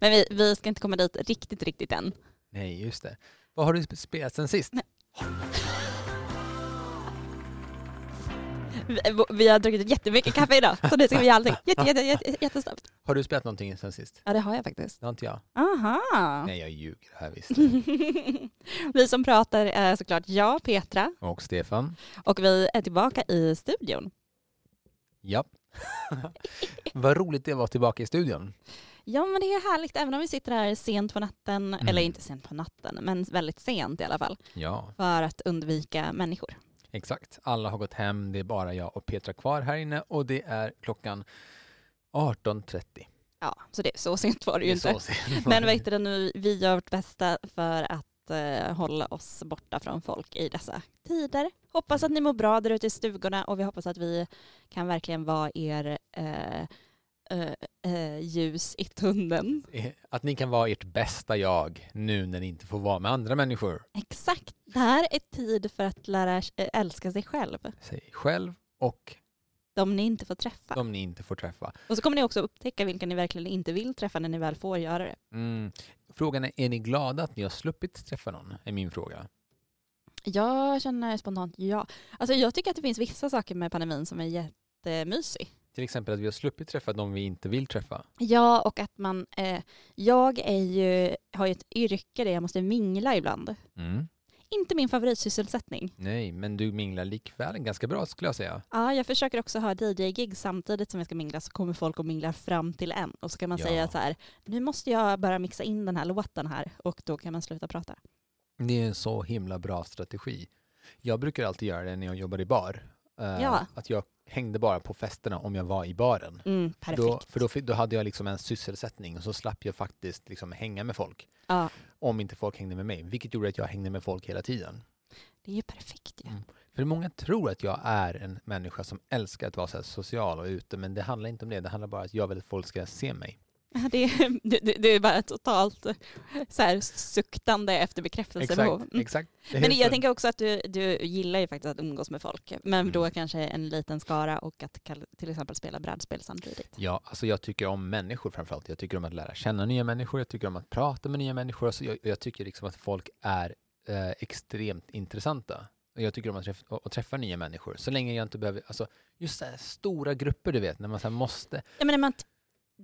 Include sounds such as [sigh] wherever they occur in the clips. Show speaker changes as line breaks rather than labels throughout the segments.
Men vi, vi ska inte komma dit riktigt, riktigt än.
Nej, just det. Vad har du sp- spelat sen sist?
Vi, vi har druckit jättemycket kaffe idag, så nu ska vi göra allting jätte, jätte, jätte, jättesnabbt.
Har du spelat någonting sen sist?
Ja, det har jag faktiskt.
Det har inte jag.
Aha!
Nej, jag ljuger här [laughs] visst.
[laughs] vi som pratar är såklart jag, Petra,
Och Stefan.
och vi är tillbaka i studion.
Ja. [laughs] Vad roligt det var tillbaka i studion.
Ja, men det är härligt, även om vi sitter här sent på natten,
Mm.
eller inte sent på natten, men väldigt sent i alla fall,
Ja,
för att undvika människor.
exakt. Alla har gått hem. Det är bara jag och Petra kvar här inne och det är klockan 18.30.
Ja, så det så sent var det ju
är
inte.
så sent.
[laughs] Men vet du, nu, vi gör vårt bästa för att eh, hålla oss borta från folk i dessa tider. Hoppas att ni mår bra där ute i stugorna och vi hoppas att vi kan verkligen vara er eh, eh, eh, ljus i tunneln.
[laughs] Att ni kan vara ert bästa jag nu när ni inte får vara med andra människor.
Exakt. Det här är tid för att lära eh, älska sig själv.
Sig själv och
De ni inte får träffa.
de ni inte får träffa.
Och så kommer ni också upptäcka vilka ni verkligen inte vill träffa när ni väl får göra det.
Mm. Frågan är, är ni glada att ni har sluppit träffa någon? Är min fråga.
Jag känner spontant ja. Alltså jag tycker att det finns vissa saker med pandemin som är jättemysig.
Till exempel att vi har sluppit träffa de vi inte vill träffa.
Ja, och att man... Eh, jag är ju, har ju ett yrke där jag måste mingla ibland.
Mm.
Inte min favoritsysselsättning.
Nej, men du minglar likväl ganska bra skulle jag säga.
Ja, jag försöker också ha DJ-gig samtidigt som jag ska mingla så kommer folk och minglar fram till en. Och så kan man
Ja.
säga så här, nu måste jag bara mixa in den här låten här och då kan man sluta prata.
Det är en så himla bra strategi. Jag brukar alltid göra det när jag jobbar i bar. Eh,
Ja.
Att jag hängde bara på festerna om jag var i baren.
Mm, perfekt.
Då, för då, fi- då hade jag liksom en sysselsättning och så slapp jag faktiskt liksom hänga med folk.
Ja,
Om inte folk hängde med mig, vilket gjorde att jag hängde med folk hela tiden.
det är ju perfekt ju. [laughs]
Mm. För många tror att jag är en människa som älskar att vara så här social och ute, men det handlar inte om det. Det handlar bara om att jag vill att folk ska se mig.
Det, är- det, det- det är bara totalt så här, suktande efter bekräftelsebehov.
Exakt,
Mm.
exakt. Det är
Men
helt
jag
sant.
tänker också att du, du gillar ju faktiskt att umgås med folk, men
Mm.
då kanske en liten skara och att kall- till exempel spela brädspel samtidigt.
Ja, alltså jag tycker om människor framförallt. Jag tycker om att lära känna nya människor, jag tycker om att prata med nya människor. Alltså jag, jag tycker liksom att folk är eh, extremt intressanta. Och Jag tycker om att träffa, att träffa nya människor, så länge jag inte behöver, alltså just så här stora grupper du vet, när man så här måste.
Jag menar, man,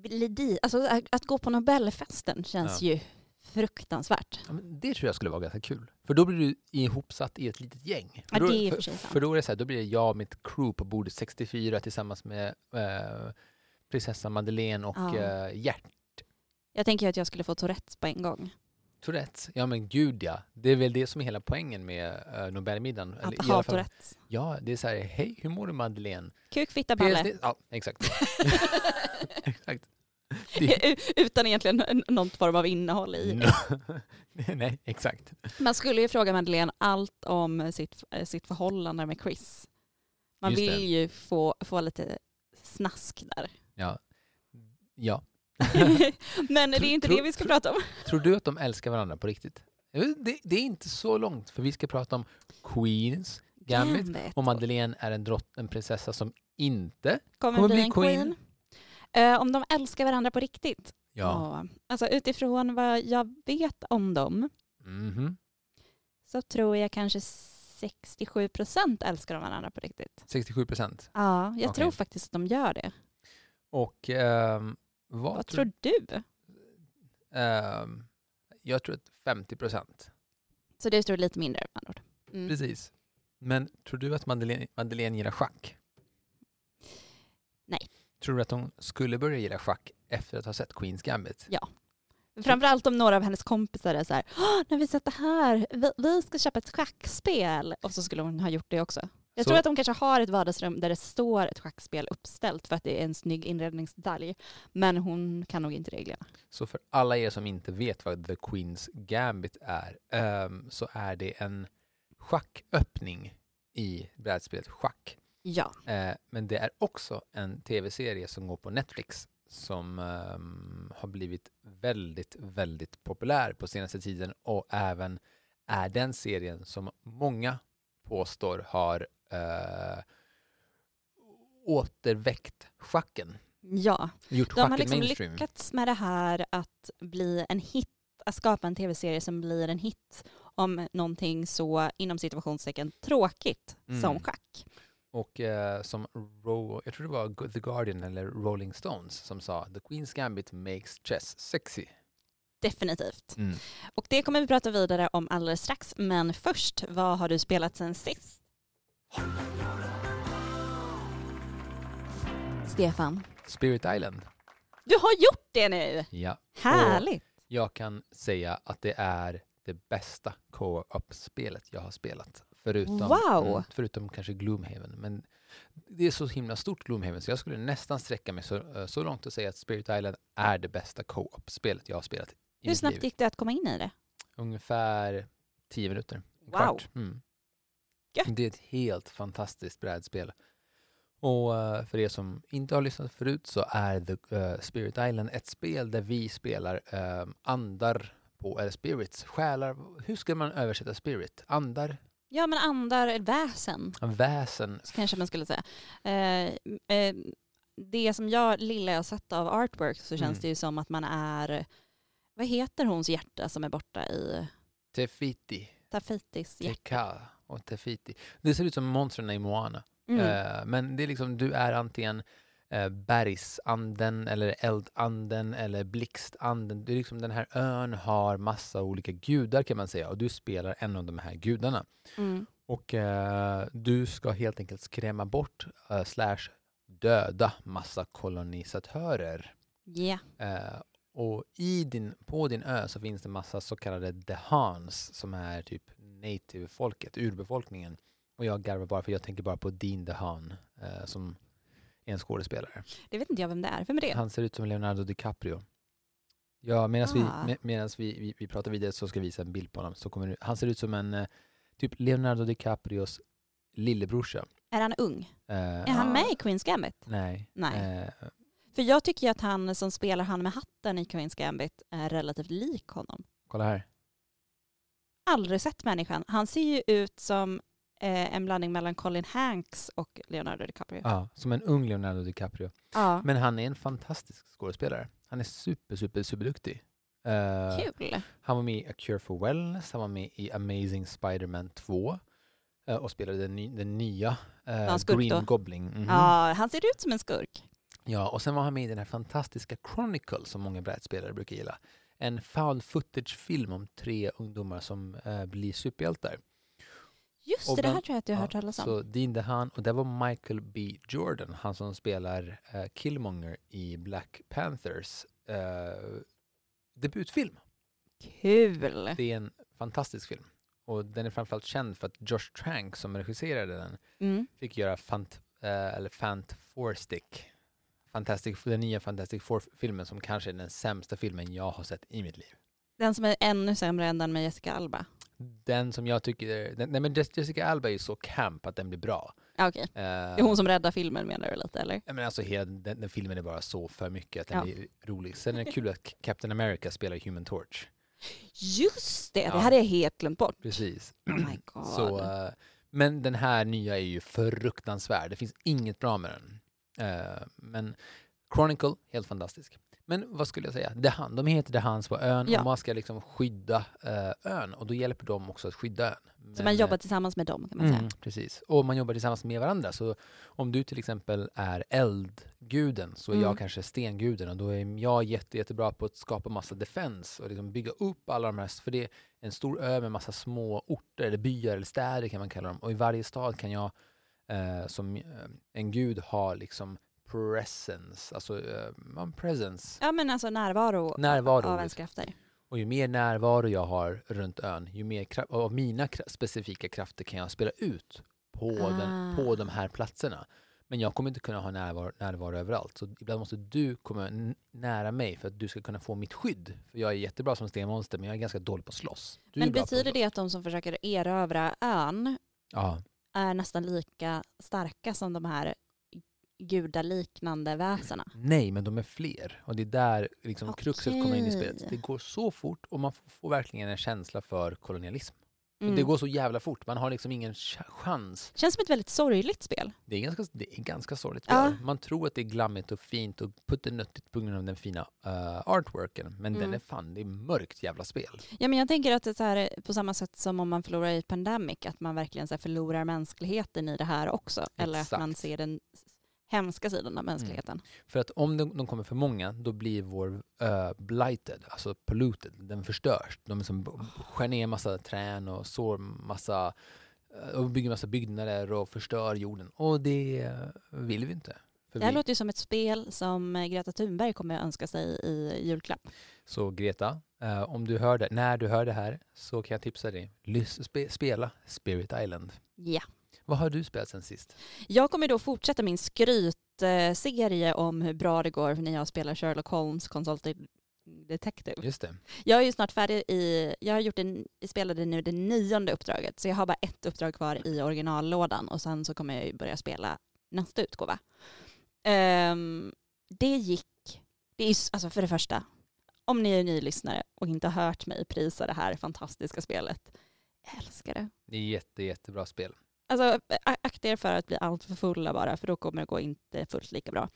lidi, alltså, att, att gå på Nobelfesten känns ju fruktansvärt.
Ja, men det tror jag skulle vara ganska kul. För då blir du ihopsatt i ett litet gäng.
Ja,
då,
det är i och
för,
för sig sant.
för då är det så här, då blir det jag och mitt crew på bordet 64 tillsammans med eh, prinsessa Madeleine och
Ja.
eh, Gert.
Jag tänker ju att jag skulle få Tourettes på en gång.
Tourettes, ja men gud ja. Det är väl det som är hela poängen med uh, Nobelmiddagen. Eller
Att
i alla
ha
fall-
Tourettes.
Ja, det är så här, hej hur mår du Madeleine?
Kuk, fitta, balle.
PSD Ja, exakt. [laughs] exakt.
[laughs] Utan egentligen n- någon form av innehåll i.
[laughs] Nej, exakt.
Man skulle ju fråga Madeleine allt om sitt, eh, sitt förhållande med Chris. Man
Just det.
vill ju få, få lite snask där.
Ja. ja.
Men det är
Tro-
inte
tro-
det vi ska
tro-
prata om.
Tror du att de älskar varandra på riktigt? Jag vet, Det, det är inte så långt, för vi ska prata om Queens Gambit. Och Madeleine är en, drott, en prinsessa som inte...
kommer
kommer
bli
bli
en queen.
queen.
Eh, om de älskar varandra på riktigt.
Ja.
Alltså utifrån vad jag vet om dem
Mhm.
så tror jag kanske 67 procent älskar de varandra på riktigt.
67 procent.
Ja, jag
Okej.
tror faktiskt att de gör det.
Och ehm, vad,
Vad
tror
tror du?
Ehm, jag tror att 50 procent.
Så du tror lite mindre med andra ord. Mm.
Precis. Men tror du att Madeleine, Madeleine gillar schack?
Nej.
Tror du att hon skulle börja gilla schack efter att ha sett Queens Gambit?
Framförallt om några av hennes kompisar är så här, "Åh, när vi satt här, vi, vi ska köpa ett schackspel. Och så skulle hon ha gjort det också. Jag
Så-
tror att de kanske har ett vardagsrum där det står ett schackspel uppställt för att det är en snygg inredningsdetalj. Men hon kan nog inte reglerna.
Så för alla er som inte vet vad The Queen's Gambit är ehm, så är det en schacköppning i brädspelet schack.
Ja.
Eh, men det är också en tv-serie som går på Netflix som ehm, har blivit väldigt, väldigt populär på senaste tiden och även är den serien som många påstår har eh, återväckt schacken.
Ja.
Gjort
De har
schacken
liksom
mainstream.
lyckats med det här att bli en hit, att skapa en tv-serie som blir en hit om någonting så inom situationstecken tråkigt
Mm.
som schack.
Och eh, som Ro, jag tror det var Gu- The Guardian eller Rolling Stones som sa The Queen's Gambit makes chess sexy.
Definitivt. Och det kommer vi prata vidare om alldeles strax. Men först, vad har du spelat sen sist? Stefan,
Spirit Island.
du har gjort det nu!
Ja.
Härligt!
Jag kan säga att det är det bästa co-op-spelet jag har spelat. Förutom, Mm,
Wow!
förutom kanske Gloomhaven. Men det är så himla stort Gloomhaven så jag skulle nästan sträcka mig så, eh, så långt och säga att Spirit Island är det bästa co-op-spelet jag har spelat i
Hur
mitt
snabbt
liv.
gick det att komma in i det?
Ungefär tio minuter. En
Wow.
kvart. Mm.
Gött.
Det är ett helt fantastiskt brädspel. Och eh, för er som inte har lyssnat förut så är The eh, Spirit Island ett spel där vi spelar eh, andar på, eller spirits, själar. Hur ska man översätta spirit? Andar,
Ja, men andar, väsen
väsen.
kanske man skulle säga. Eh, eh, det som jag, lilla jag sett av artwork så känns
Mm.
det ju som att man är, vad heter hons hjärta som är borta i
Tefiti,
Tafitis hjärta?
Teka och Tefiti. Det ser ut som monstren i Moana.
Mm.
Eh, Men det är liksom, du är antingen eh, bergsanden eller eldanden eller blixtanden. Det är liksom, den här ön har massa olika gudar kan man säga och du spelar en av de här gudarna.
Mm.
Och eh, du ska helt enkelt skrämma bort eh, slash döda massa kolonisatörer.
Ja.
Eh, och i din, på din ö så finns det massa så kallade dehans som är typ native-folket, urbefolkningen. Och jag garvar bara för jag tänker bara på Dean Dehaan eh, som är en skådespelare.
Det vet inte jag vem det är. Vem är det?
Han ser ut som Leonardo DiCaprio. Ja, medan
Ah.
vi, med, vi, vi, vi pratar vidare så ska jag visa en bild på honom. Så kommer du, han ser ut som en eh, typ Leonardo DiCaprios lillebrorsa.
Är han ung?
Eh,
Är han med i Queens Gambit?
Nej.
Nej.
Eh,
För jag tycker ju att han som spelar han med hatten i Queens Gambit är relativt lik honom.
kolla här.
Aldrig sett människan. Han ser ju ut som eh, en blandning mellan Colin Hanks och Leonardo DiCaprio.
Ja, som en ung Leonardo DiCaprio.
Ja,
Men han är en fantastisk skådespelare. Han är super, super, superduktig. Eh,
kul.
han var med i A Cure for Wellness, han var med i Amazing Spider-Man 2 eh, och spelade den, ny, den nya eh,
han skurk
Green
då?
Goblin. Mhm.
Ja, han ser ut som en skurk.
Ja, och sen var han med i den här fantastiska Chronicle som många brädspelare brukar gilla. En found footage-film om tre ungdomar som eh, blir superhjältar.
Just
Och
det, det här
bland-
tror jag att du har
Ja,
hört talas om.
Så Dean DeHaan, och det var Michael B Jordan, han som spelar eh, Killmonger i Black Panthers eh, debutfilm.
Kul.
Det är en fantastisk film. Och den är framförallt känd för att Josh Trank som regisserade den
Mm.
fick göra Fant, eh, eller Fant Four Stick. Fantastic, den nya Fantastic Four-filmen som kanske är den sämsta filmen jag har sett i mitt liv.
Den som är ännu sämre än den med Jessica Alba.
Den som jag tycker, den, nej men Jessica Alba är ju så camp att den blir bra.
Ja, Okej,
Eh,
det är hon som räddar filmen menar du lite eller?
Nej, men alltså hela den, den filmen är bara så för mycket att den
Ja.
blir rolig. Sen är det kul att Captain America spelar Human Torch.
Just det, det
Ja.
hade jag helt glömt bort.
Precis.
Oh my god.
Så, eh, men den här nya är ju fruktansvärd. Det finns inget bra med den. Eh, men Chronicle, helt fantastisk. Men vad skulle jag säga? The Han, de heter The Hans på ön
Ja.
och man ska liksom skydda eh, ön och då hjälper de också att skydda ön.
Så
Men,
man
eh,
jobbar tillsammans med dem kan man säga.
Mm, precis. Och man jobbar tillsammans med varandra. Så om du till exempel är eldguden så är
Mm.
jag kanske stenguden och då är jag jätte, jättebra på att skapa massa defens och liksom bygga upp alla de här. För det är en stor ö med massa små orter eller byar eller städer kan man kalla dem. Och i varje stad kan jag eh, som eh, en gud ha liksom presence, alltså eh, ja, en presence,
Ja men alltså närvaro,
närvaro.
av
liksom.
ens krafter.
Och ju mer närvaro jag har runt ön, ju mer kra- av mina kra- specifika krafter kan jag spela ut på, den,
Ah.
på de här platserna. Men jag kommer inte kunna ha närvaro, närvaro överallt. Så ibland måste du komma n- nära mig för att du ska kunna få mitt skydd. För jag är jättebra som stenmonster, men jag är ganska dålig på att slåss. Du är
Men
bra på att
betyder
slåss.
det att de som försöker erövra ön
Ja.
är nästan lika starka som de här gudaliknande väsena?
Nej, men de är fler. Och det är där liksom kruxet kommer in i spelet.
Okej.
Det går så fort och man f- får verkligen en känsla för kolonialism.
Mm.
Det går så jävla fort. Man har liksom ingen ch- chans.
Känns som ett väldigt sorgligt spel.
Det är ganska, det är ganska sorgligt.
Ja.
spel. Man tror att det är glammigt och fint och puttenöttigt på grund av den fina eh, artworken. Men den
Mm.
är fan, det är mörkt jävla spel.
Ja, men jag tänker att det är så här, på samma sätt som om man förlorar i pandemic, att man verkligen så här förlorar mänskligheten i det här också. Eller att
Exakt.
man
Mm,
ser den hemska sidan av mänskligheten.
För att om de, de kommer för många, då blir vår ö blighted, alltså polluted, den förstörs. De liksom b- skär ner massa trän och sår massa, eh, och bygger massa byggnader och förstör jorden. Och det eh, vill vi inte. För
Det här
vi,
låter ju som ett spel som Greta Thunberg kommer att önska sig i julklapp.
så Greta, eh, om du hör det, när du hör det här så kan jag tipsa dig, lys, spe, spela Spirit Island.
Ja.
Vad har du spelat sen sist?
Jag kommer då fortsätta min skrytserie om hur bra det går när jag spelar Sherlock Holmes Consulted Detective.
Just det.
Jag är ju snart färdig i, jag har gjort en, spelade nu det nionde uppdraget så jag har bara ett uppdrag kvar i originallådan och sen så kommer jag ju börja spela nästa utgåva. Ehm, det gick, det är, s- alltså för det första, om ni är nylyssnare och inte har hört mig prisa det här fantastiska spelet, jag älskar det.
Det är jätte, jättebra spel.
Alltså a- akta er för att bli alltför fulla bara för då kommer det gå inte fullt lika bra.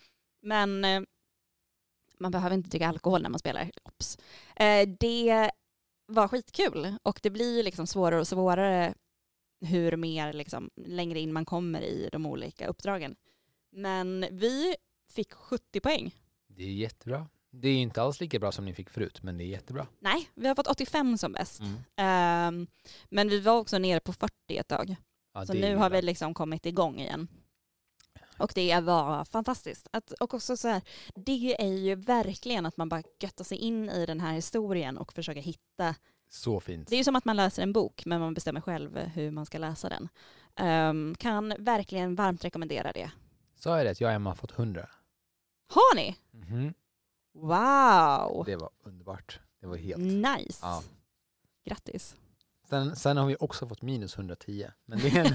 Men eh, man behöver inte dricka alkohol när man spelar. Ops. Eh, det var skitkul och det blir ju liksom svårare och svårare hur mer liksom, längre in man kommer i de olika uppdragen. Men vi fick 70 poäng.
Det är jättebra. Det är inte alls lika bra som ni fick förut, men det är jättebra.
Nej, vi har fått 85 som bäst.
Mm.
Ehm, men vi var också nere på 40 ett tag.
Ja,
Så
det är
nu har
illa.
vi liksom kommit igång igen. Och det var fantastiskt. Att, och också så här, det är ju verkligen att man bara göttar sig in i den här historien och försöker hitta.
Så fint.
Det är ju som att man läser en bok men man bestämmer själv hur man ska läsa den. Ehm, kan verkligen varmt rekommendera det.
Sa jag det att jag och Emma har fått 100?
Har ni? Wow!
Det var underbart. Det var helt.
Nice!
Ja. [laughs]
Grattis.
Sen, sen har vi också fått minus 110. Men det är en,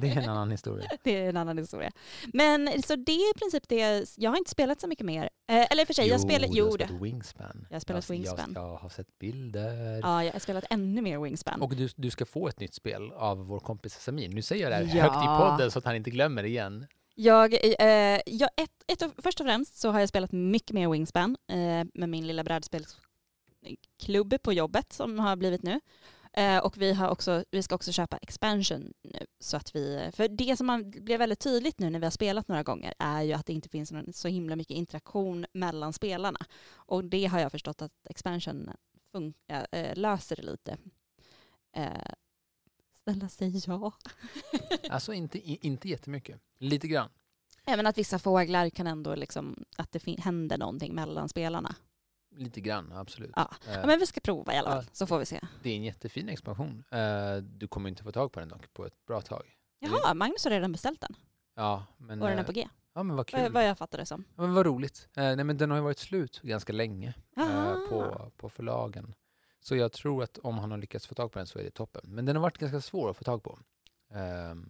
[laughs] det är en annan historia.
Det är en annan historia. Men så det är i princip det, jag har inte spelat så mycket mer. Eh, eller i och för sig, jag spelar,
du har
jo det.
spelat Wingspan.
Jag har spelat
jag,
Wingspan.
Jag, jag har sett bilder.
Ja, jag har spelat ännu mer Wingspan.
Och du, du ska få ett nytt spel av vår kompis Samir. Nu säger jag det här
Ja.
högt i podden så att han inte glömmer igen.
Jag, eh, jag, ett, ett, av- först och främst så har jag spelat mycket mer Wingspan eh, med min lilla brädspelsklubb på jobbet som har blivit nu. Eh, och vi, har också, vi ska också köpa expansion nu. Så att vi, för det som man blev väldigt tydligt nu när vi har spelat några gånger är ju att det inte finns någon, så himla mycket interaktion mellan spelarna. Och det har jag förstått att expansion fun- eh, löser det lite. Eh, snälla säg ja.
Alltså inte, i- inte jättemycket. Lite grann.
Även att vissa fåglar kan ändå liksom, att det fin- händer någonting mellan spelarna.
Lite grann, absolut.
Ja.
Eh,
Ja, men vi ska prova i alla fall,
Ja.
så får vi se.
Det är en jättefin expansion. Eh, Du kommer inte få tag på den dock på ett bra tag. Mm.
Jaha, Magnus har redan beställt den.
Ja, men,
Och den är
eh,
på G,
ja, men vad
vad,
kul.
vad jag fattar det som.
Ja, Men vad roligt. Eh, nej, men den har ju varit slut ganska länge eh,
Aha.
på, på förlagen. Så jag tror att om han har lyckats få tag på den så är det toppen. Men den har varit ganska svår att få tag på. Eh,
Men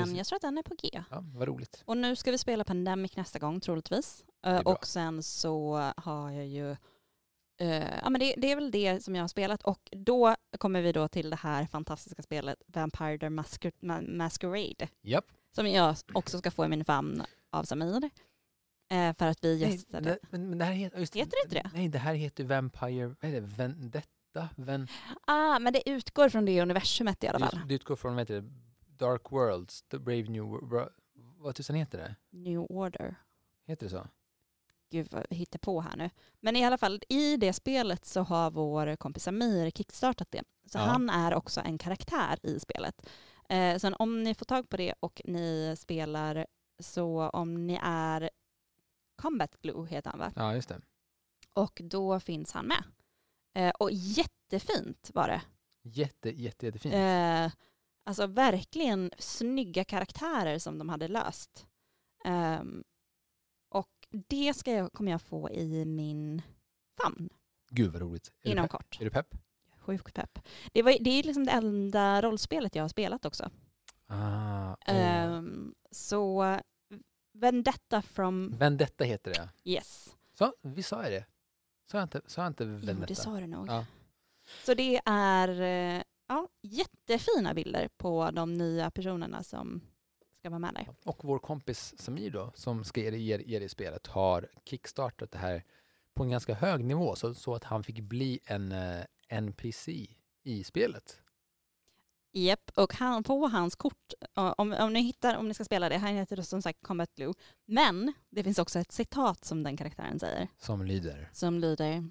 precis.
jag tror att den är på G.
ja, vad roligt.
Och nu ska vi spela Pandemic nästa gång troligtvis. Eh,
är bra.
Och sen så har jag ju, eh, ja men det, det är väl det som jag har spelat. Och då kommer vi då till det här fantastiska spelet Vampire the Masquer- Ma- Masquerade.
Japp.
Som jag också ska få i min famn av Samir. Eh, för att vi gästade.
Nej, men, men det här heter, just,
Heter det inte det?
Nej, det här heter Vampire... Vad är det? Vendetta? Ven,
Ah, men det utgår från det universumet i alla fall.
det, det utgår från, vad heter det? Dark Worlds, The Brave New World. Vad tusan heter det?
New Order.
Heter det så?
Gud vad vi hittar på här nu. Men i alla fall, i det spelet så har vår kompis Amir kickstartat det. Så
Ja.
han är också en karaktär i spelet. Eh, så om ni får tag på det och ni spelar, så om ni är Combat Glue heter han va?
Ja, just det.
Och då finns han med. Eh, och jättefint var det.
Mm. Jätte, jätte, jättefint.
Eh, Alltså verkligen snygga karaktärer som de hade löst. Ehm, och det ska jag, kommer jag få i min famn
Gud vad roligt. Är,
inom
du pepp?
kort.
är du pepp?
Sjukt pepp. Det, var, det är liksom det enda rollspelet jag har spelat också.
Ah, åh.
Ehm, så Vendetta from...
Vendetta heter det.
Yes.
Så, vi sa ju det. Sa jag inte, sa jag inte
Jo,
Vendetta?
det sa du nog.
Ja.
Så det är eh, ja, jättefina bilder på de nya personerna som ska vara med där.
Och vår kompis Samir då, som ska ge dig- ge, dig- ge dig spelet, har kickstartat det här på en ganska hög nivå så, så att han fick bli en eh, NPC i spelet.
Japp, och han, på hans kort, ja, om, om ni hittar, om ni ska spela det, han heter då som sagt Combat Blue. Men det finns också ett citat som den karaktären säger,
Som lyder.
som lyder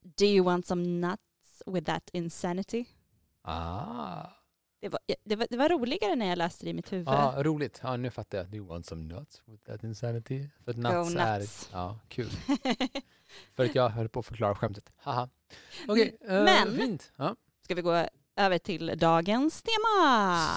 Do you want some nuts with that insanity?
Ah,
Det var, det var, det var roligare när jag läste det i mitt huvud.
ah roligt. Ja, nu fattar jag. Do you want some nuts with that insanity? För att nuts,
nuts.
är... Ja, kul. För att jag höll på att förklara skämtet. Haha. Okej, eh,
Mm, Men-
fint. Ja.
[laughs] ska vi gå över till dagens tema?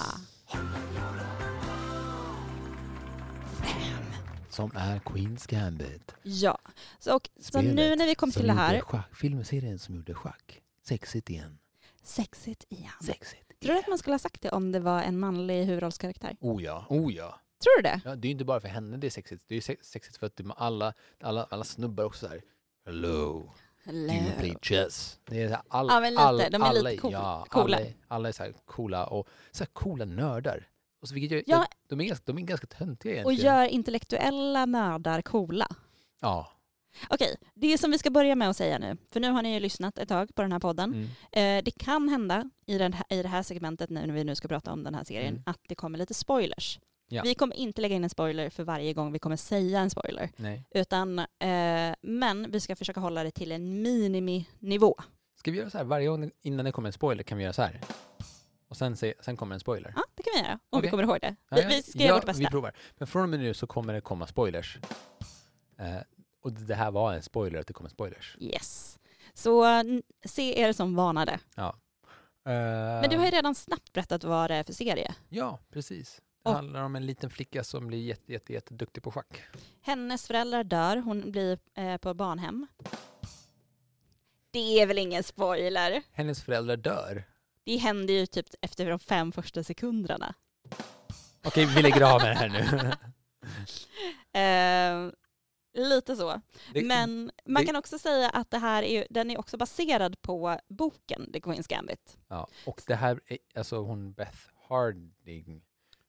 Som är Queens Gambit.
Ja, så, och, så
Spelet
nu när vi kom
som
till det här,
gjorde Schack, filmserien som gjorde schack. Sexigt igen.
sexigt igen.
Sexigt.
Tror du att man skulle ha sagt det om det var en manlig huvudrollskaraktär?
Oh ja, oh ja.
Tror du det?
ja. Det är ju inte bara för henne det är sexigt. Det är ju sex- sexigt för att det- alla, alla, alla snubbar också så här. Hello, do you play chess? Det är så här, all,
Ja, men lite.
all,
De är lite
alla,
cool-
ja,
coola.
Alla, är- alla är så här coola och så här coola nördar. Och så, vilket gör,
Ja.
de, är, ganska- de är ganska töntiga
Och
egentligen.
gör intellektuella nördar coola.
Ja.
Okej, det som vi ska börja med att säga nu, för nu har ni ju lyssnat ett tag på den här podden.
Mm.
Eh, det kan hända i, den här, i det här segmentet nu när vi nu ska prata om den här serien
Mm.
att det kommer lite spoilers.
Ja.
Vi kommer inte lägga in en spoiler för varje gång vi kommer säga en spoiler.
Nej.
Utan, eh, men vi ska försöka hålla det till en miniminivå.
Ska vi göra så här, varje gång innan det kommer en spoiler kan vi göra så här. Och sen, se, sen kommer en spoiler.
Ja, det kan vi göra. Om vi
Okej.
kommer ihåg det.
Ja,
Vi,
ja,
vi ska göra
ja,
vårt bästa.
Vi provar. Men från och med nu så kommer det komma spoilers. Eh, och det här var en spoiler att det kommer spoilers.
Yes. Så n- se er som vanade.
Eh,
Men du har ju redan snabbt berättat vad det är för serie.
Ja, precis. Det
Och-
handlar om en liten flicka som blir jätte, jätte, jätteduktig på schack.
Hennes föräldrar dör, hon blir eh, på barnhem. Det är väl ingen spoiler?
Hennes föräldrar dör.
Det händer ju typ efter de fem första sekunderna.
Okej, vi lägger av med det här nu.
[laughs] Eh, lite så.
Det,
Men man
det-
kan också säga att det här är, ju- den är också baserad på boken The Queen's Gambit.
Ja, och det här är alltså hon Beth Harding.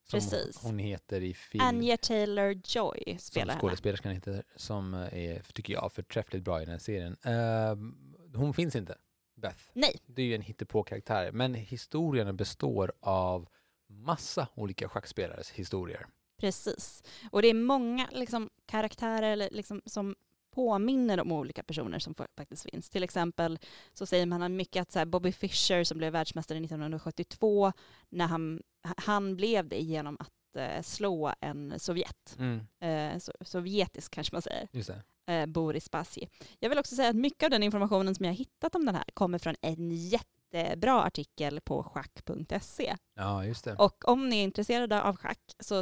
Som
Precis.
hon heter i film.
Anja Taylor-Joy
som
spelar henne.
skådespelerskan heter, som är, tycker jag, förträffligt bra i den här serien. Ehm, hon finns inte, Beth.
Nej,
Det är ju en hittepåkaraktär, men historien består av massa olika schackspelares historier.
Precis. Och det är många liksom, karaktärer eller, liksom, som påminner om olika personer som fa- faktiskt finns. Till exempel så säger man mycket att så här, Bobby Fischer som blev världsmästare 1972, när han, han blev det genom att eh, slå en Sovjet, eh, so, sovjetisk kanske man säger,
Just det.
eh, Boris Spasi. Jag vill också säga att mycket av den informationen som jag har hittat om den här kommer från en jättebra artikel på schack.se.
Ja, just det.
Och om ni är intresserade av schack så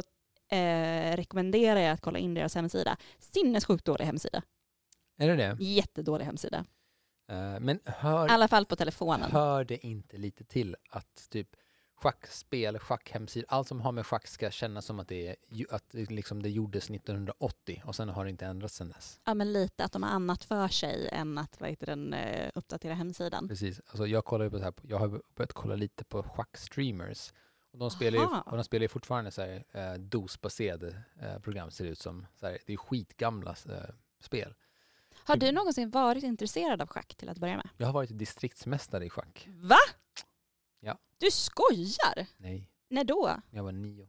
eh, rekommenderar jag att kolla in deras hemsida. Sinnessjukt dålig hemsida.
Är det det?
Jättedålig hemsida.
Eh, men
I
hör,
alla fall på telefonen.
hör det inte lite till att typ schackspel, schackhemsidor, allt som har med schack ska kännas som att det, är, ju- att det liksom det gjordes 1980 och sen har det inte ändrats sedan dess.
Ja men lite att de har annat för sig än att vad heter den, eh, uppdatera hemsidan.
Precis. Alltså jag, kollar ju på det här, på- jag har börjat kolla lite på schackstreamers. Och de, spelar ju,
Aha.
och de spelar ju fortfarande så här, eh, DOS-baserade eh, program ser det ut som. Så här, det är skitgamla eh, spel.
Har du någonsin varit intresserad av schack till att börja med?
Jag har varit distriktsmästare i schack.
Va?
Ja.
Du skojar?
Nej, [laughs]
När då?
när jag var nio.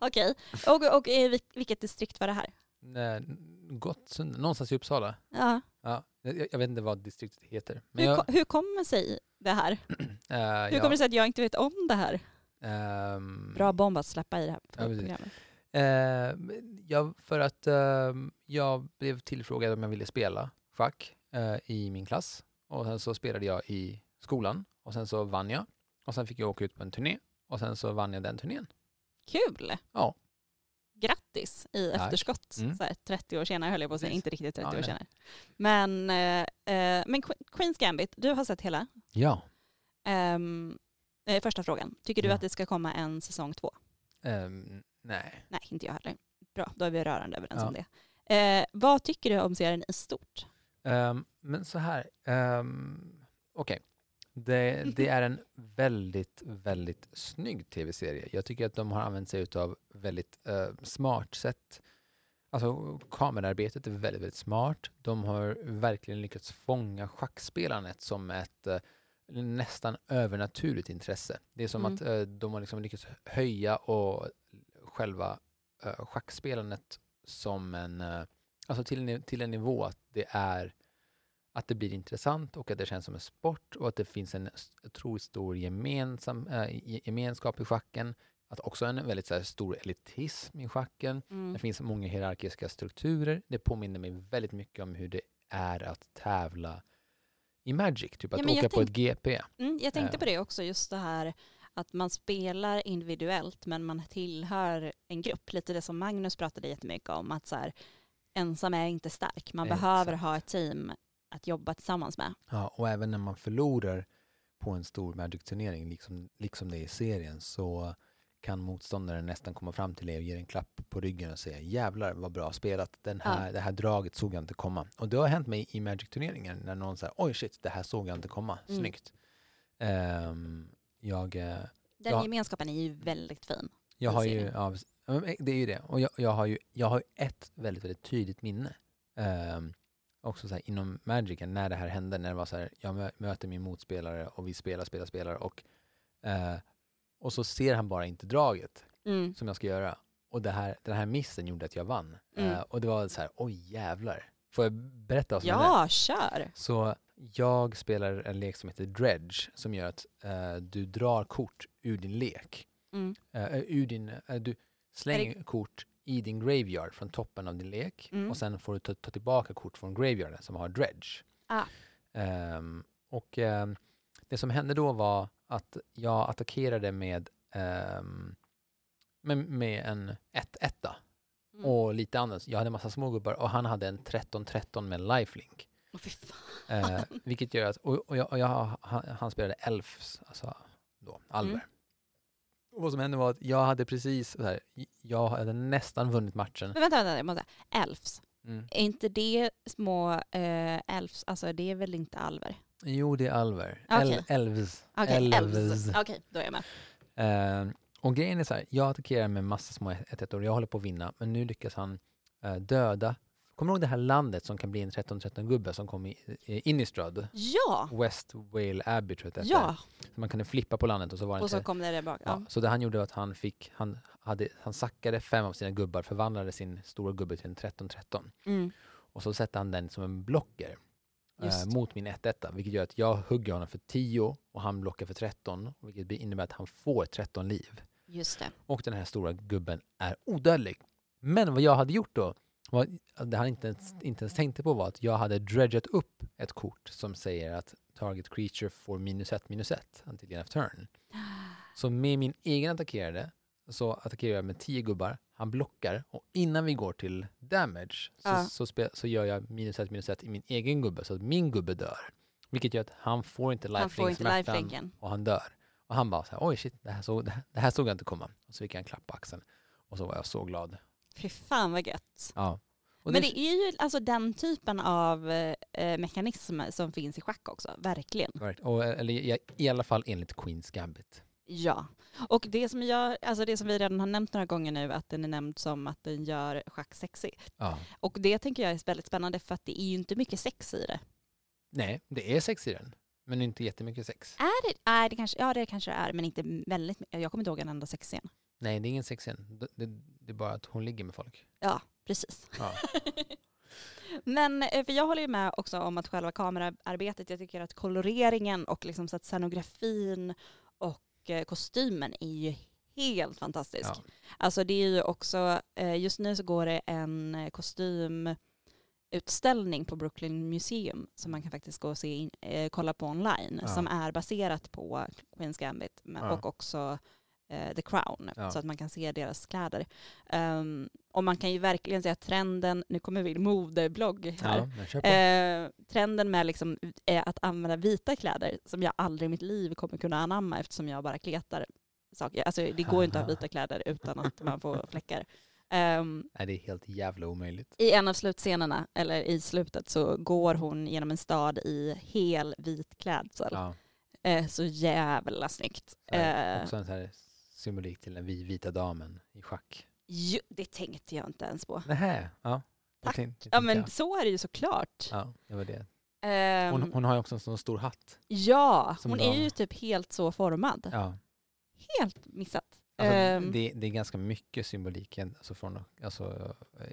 Okej. Och, och i vil- vilket distrikt var det här?
Nej, Gottsunda, någonstans i Uppsala.
Ja.
Ja, jag, jag vet inte vad distriktet heter. Men
Hur,
jag,
ko- hur kommer sig det här?
eh,
Hur
ja,
kommer det sig att jag inte vet om det här?
ehm,
Bra bomb att släppa i det här
precis.
programmet.
Eh, men jag, för att eh, jag blev tillfrågad om jag ville spela schack eh, i min klass. Och sen så spelade jag i skolan och sen så vann jag. Och och sen fick jag åka ut på en turné och sen så vann jag den turnén.
Kul!
Ja.
Grattis i
Tack.
efterskott.
Mm.
Så här, 30 år senare höll jag på att säga,
Precis.
inte riktigt 30
Ja,
år
nej.
senare. Men, eh, eh, men Que- Queens Gambit, du har sett hela.
Ja.
Ehm, eh, första frågan, tycker du
Ja.
att det ska komma en säsong två?
Ehm, nej.
Nej, inte jag heller. Bra, då är vi rörande överens
Ja.
om det. Eh, vad tycker du om serien i stort?
Ehm, men så här, um, okej. Det, det är en väldigt, väldigt snygg tv-serie. Jag tycker att de har använt sig av väldigt eh, smart sätt. Alltså kamerarbetet är väldigt, väldigt smart. De har verkligen lyckats fånga schackspelandet som ett eh, nästan övernaturligt intresse. Det är som
Mm.
att eh, de har liksom lyckats höja och själva eh, schackspelandet som en, eh, alltså till, en niv- till en nivå att det är att det blir intressant och att det känns som en sport och att det finns en s- otroligt stor gemensam, eh, ge- gemenskap i schacken. Att också en väldigt så här, stor elitism i schacken.
Mm.
Det finns många hierarkiska strukturer. Det påminner mig väldigt mycket om hur det är att tävla i Magic, typ att
men jag
åka på ett GP.
Mm, jag tänkte
Eh.
på det också, just det här att man spelar individuellt men man tillhör en grupp. Lite det som Magnus pratade jättemycket om, att så här, ensam är inte stark. Man
Exakt.
behöver ha ett team att jobba tillsammans med.
Ja, och även när man förlorar på en stor Magic-turnering, liksom, liksom det är i serien, så kan motståndaren nästan komma fram till dig och ge dig en klapp på ryggen och säga jävlar vad bra spelat, den här, det här draget såg jag inte komma. Och det har hänt mig i Magic-turneringar när någon säger oj shit, det här såg jag inte komma,
Mm.
snyggt. Ehm, jag eh,
Den
Ja.
gemenskapen är ju väldigt fin.
Jag
i
har ju,
serien.
ja, precis. Ja, men eh, det är ju det. Och jag, jag, har ju, jag har ju ett väldigt, väldigt tydligt minne. Ehm, också så här, inom Magic, när det här hände, när det var så här, jag mö- möter min motspelare och vi spelar, spelar, spelar och, eh, och så ser han bara inte draget
Mm.
som jag ska göra. Och det här, den här missen gjorde att jag vann.
Mm.
Eh, och det var så här, oj jävlar. Får jag berätta vad som hände?
Ja, kör!
Så jag spelar en lek som heter Dredge som gör att eh, du drar kort ur din lek.
Mm.
Eh, ur din, eh, du slänger kort i din graveyard från toppen av din lek
Mm.
och sen får du ta, ta tillbaka kort från graveyarden som har dredge.
Ah.
Ehm, och ehm, det som hände då var att jag attackerade med, ehm, med, med en 1-1
Mm.
och lite annat. Jag hade en massa smågubbar och han hade en 13-13 med lifelink.
Åh, fy fan.
Eh, vilket gör att, och, och, jag, och jag, han, han spelade elfs, alltså då, alver.
Mm.
Och vad som hände var att jag hade precis, så här, jag hade nästan vunnit matchen.
[laughs] Men vänta, vänta, jag måste. Elfs,
Mm.
är inte det små eh, elfs, alltså det är väl inte alver?
Jo, det är alver.
Okej.
El, elves.
Okej, elves.
Elves.
Okej, då är jag med.
Eh, och grejen är så här, jag attackerar med massa små 1 och jag håller på att vinna, men nu lyckas han eh, döda. Kommer du ihåg det här landet som kan bli en 13-13-gubbe som kom i, i Innistrad?
Ja,
West Whale Abbey tror jag att det hette.
ja.
Så Man kunde flippa på landet och så var det
Och
inte
så kom det där bak.
Ja,
Ja.
så det han gjorde var att han fick, han, hade, han sackade fem av sina gubbar, förvandlade sin stora gubbe till en 13-13
Mm.
och så sätter han den som en blocker eh,
Just.
mot min 1-1 vilket gör att jag hugger honom för 10 och han blockar för 13 vilket innebär att han får 13 liv.
Just det.
Och den här stora gubben är odödlig. Men vad jag hade gjort då, var, det han inte ens, inte ens tänkte på var att jag hade dredgat upp ett kort som säger att target creature får minus ett minus ett until the end of turn. Så med min egen attackerade så attackerar jag med 10 gubbar, han blockar och innan vi går till damage så,
Ja.
så, spe, så gör jag minus ett minus ett i min egen gubbe så att min gubbe dör. Vilket gör att han får inte
Han får inte
lifelink-smärtan
lifelinken.
och han dör. Och han bara så här, oj shit, det här, såg, [laughs] det, här, det här såg jag inte komma. Och så fick jag en klapp på axeln. Och så var jag så glad.
Fy fan vad gött.
Ja. Och
Men det är ju alltså den typen av eh, mekanism som finns i schack också, verkligen.
Right. Och, eller i- i alla fall enligt Queens Gambit.
Ja. Och det som, jag, alltså det som vi redan har nämnt några gånger nu, att den är nämnd som att den gör schack sexy.
Ja.
Och det tänker jag är väldigt spännande för att det är ju inte mycket sex i det.
Nej, det är sex i den. Men inte jättemycket sex.
Är det? Nej, det kanske, ja det kanske det är, men inte väldigt mycket. Jag kommer inte ihåg en enda sexscen.
Nej, det är ingen sex i den. Det, det, det är bara att hon ligger med folk.
Ja, precis.
Ja.
Men eh, för jag håller ju med också om att själva kamerarbetet, jag tycker att koloreringen och liksom så att scenografin och eh, kostymen är ju helt
[laughs]
fantastisk.
Ja.
Alltså det är ju också, eh, just nu så går det en eh, kostym utställning på Brooklyn Museum som man kan faktiskt gå och se in, eh, kolla på online
Ja.
som är baserat på Queens Gambit men,
Ja.
och också eh, The Crown
Ja.
så att man kan se deras kläder. Ehm, och man kan ju verkligen se att trenden, nu kommer vi modeblogg här,
Ja, jag kör på.
Eh, trenden med liksom, eh, att använda vita kläder som jag aldrig i mitt liv kommer kunna anamma eftersom jag bara kletar saker. Alltså, det går ju inte att ha vita kläder utan att
[laughs]
man får fläckar. Ehm,
Nej, det är helt jävla omöjligt.
I en av slutscenerna, eller i slutet, så går hon genom en stad i hel vit klädsel.
Ja,
Eh, så jävla snyggt.
så här,
Eh,
också en så här symbolik till den vi- vita damen i schack.
ju, det tänkte jag inte ens på.
Nähä, ja.
Tack.
tänkte-
Ja
tänkte
men
jag.
så är det ju såklart.
Ja, det var det.
Ehm,
Hon, hon har ju också en sån stor hatt.
ja,
som
hon
dam.
är ju typ helt så formad.
Ja.
Helt missat.
Alltså,
Ehm.
det, det är ganska mycket symbolik, igen, alltså från alltså, eh,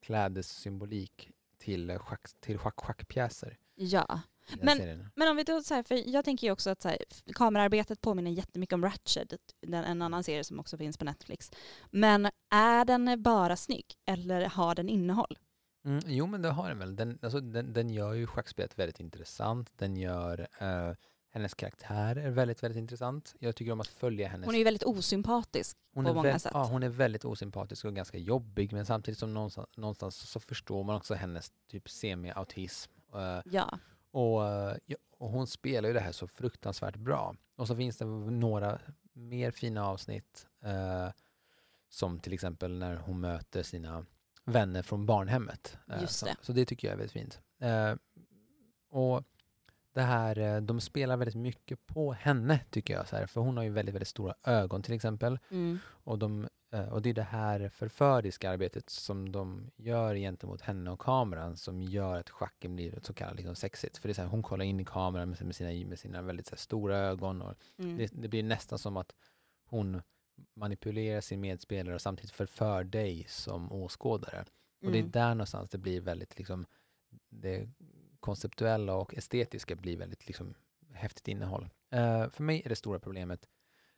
klädessymbolik till, eh, schack, till schack, schackpjäser.
Ja.
i den
Men-
serien.
Men om vi då så här, för jag tänker ju också att så här, f- kamerarbetet påminner jättemycket om Ratched, den, en annan serie som också finns på Netflix. Men är den bara snygg eller har den innehåll?
Mm, jo, men det har den väl. Den, alltså, den, den gör ju schackspelet väldigt intressant. Den gör eh, hennes karaktär är väldigt, väldigt intressant. Jag tycker om att följa hennes...
Hon är ju väldigt osympatisk.
hon
på
är
många
väl-
sätt.
Ja, hon är väldigt osympatisk och ganska jobbig, men samtidigt som någonstans, någonstans så förstår man också hennes typ semi-autism. eh,
Ja.
Och, eh, ja, och hon spelar ju det här så fruktansvärt bra. Och så finns det några mer fina avsnitt. Eh, som till exempel när hon möter sina vänner från barnhemmet. Eh,
Just
så,
det.
så det tycker jag är väldigt fint. Eh, och det här, eh, de spelar väldigt mycket på henne tycker jag. Så här, för hon har ju väldigt, väldigt stora ögon till exempel.
Mm.
Och, de, eh, och det är det här förföriska arbetet som de gör gentemot henne och kameran som gör att schacken blir så kallat liksom sexigt. För det är så här, hon kollar in i kameran med med sina, med sina väldigt så här, stora ögon och
Mm.
det, det blir nästan som att hon manipulerar sin medspelare och samtidigt förför dig som åskådare. Och det är
Mm.
där någonstans det blir väldigt liksom det konceptuella och estetiska blir väldigt liksom häftigt innehåll. Eh, för mig är det stora problemet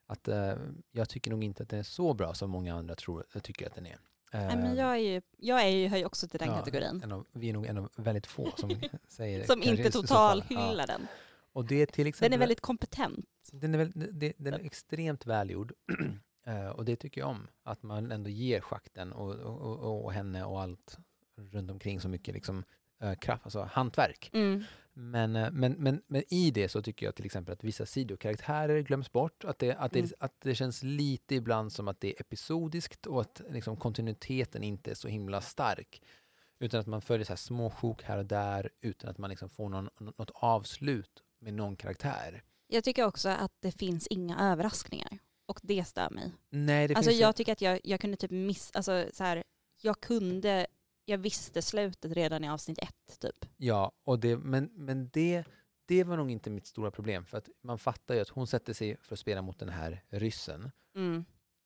att eh, jag tycker nog inte att den är så bra som många andra tror, tycker att den är. Eh,
Nej, men jag, är ju, jag är ju, hör ju också till den
ja,
kategorin.
en av, vi är nog en av väldigt få
[laughs]
som säger det.
Som
Kanske
inte
i så
total
fall. Ja.
hyllar den.
Och det är till exempel,
Den är väldigt kompetent.
den är, väl, det, den är extremt välgjord [clears throat] Eh, och det tycker jag om. Att man ändå ger schakten och, och, och, och henne och allt runt omkring så mycket liksom, eh, kraft, alltså hantverk.
Mm.
Men, eh, men, men, men i det så tycker jag till exempel att vissa sidokaraktärer glöms bort. Att det, att det,
Mm.
att det känns lite ibland som att det är episodiskt och att liksom, kontinuiteten inte är så himla stark. Utan att man följer så här små sjok här och där utan att man liksom får någon, något avslut med någon karaktär.
Jag tycker också att det finns inga överraskningar. Och det stör mig.
Nej, det
alltså
finns ju-
jag tycker att jag, jag kunde typ miss, alltså så här, jag kunde, jag visste slutet redan i avsnitt ett typ.
Ja, och det, men, men det, det var nog inte mitt stora problem. För att man fattar ju att hon sätter sig för att spela mot den här ryssen.
Mm.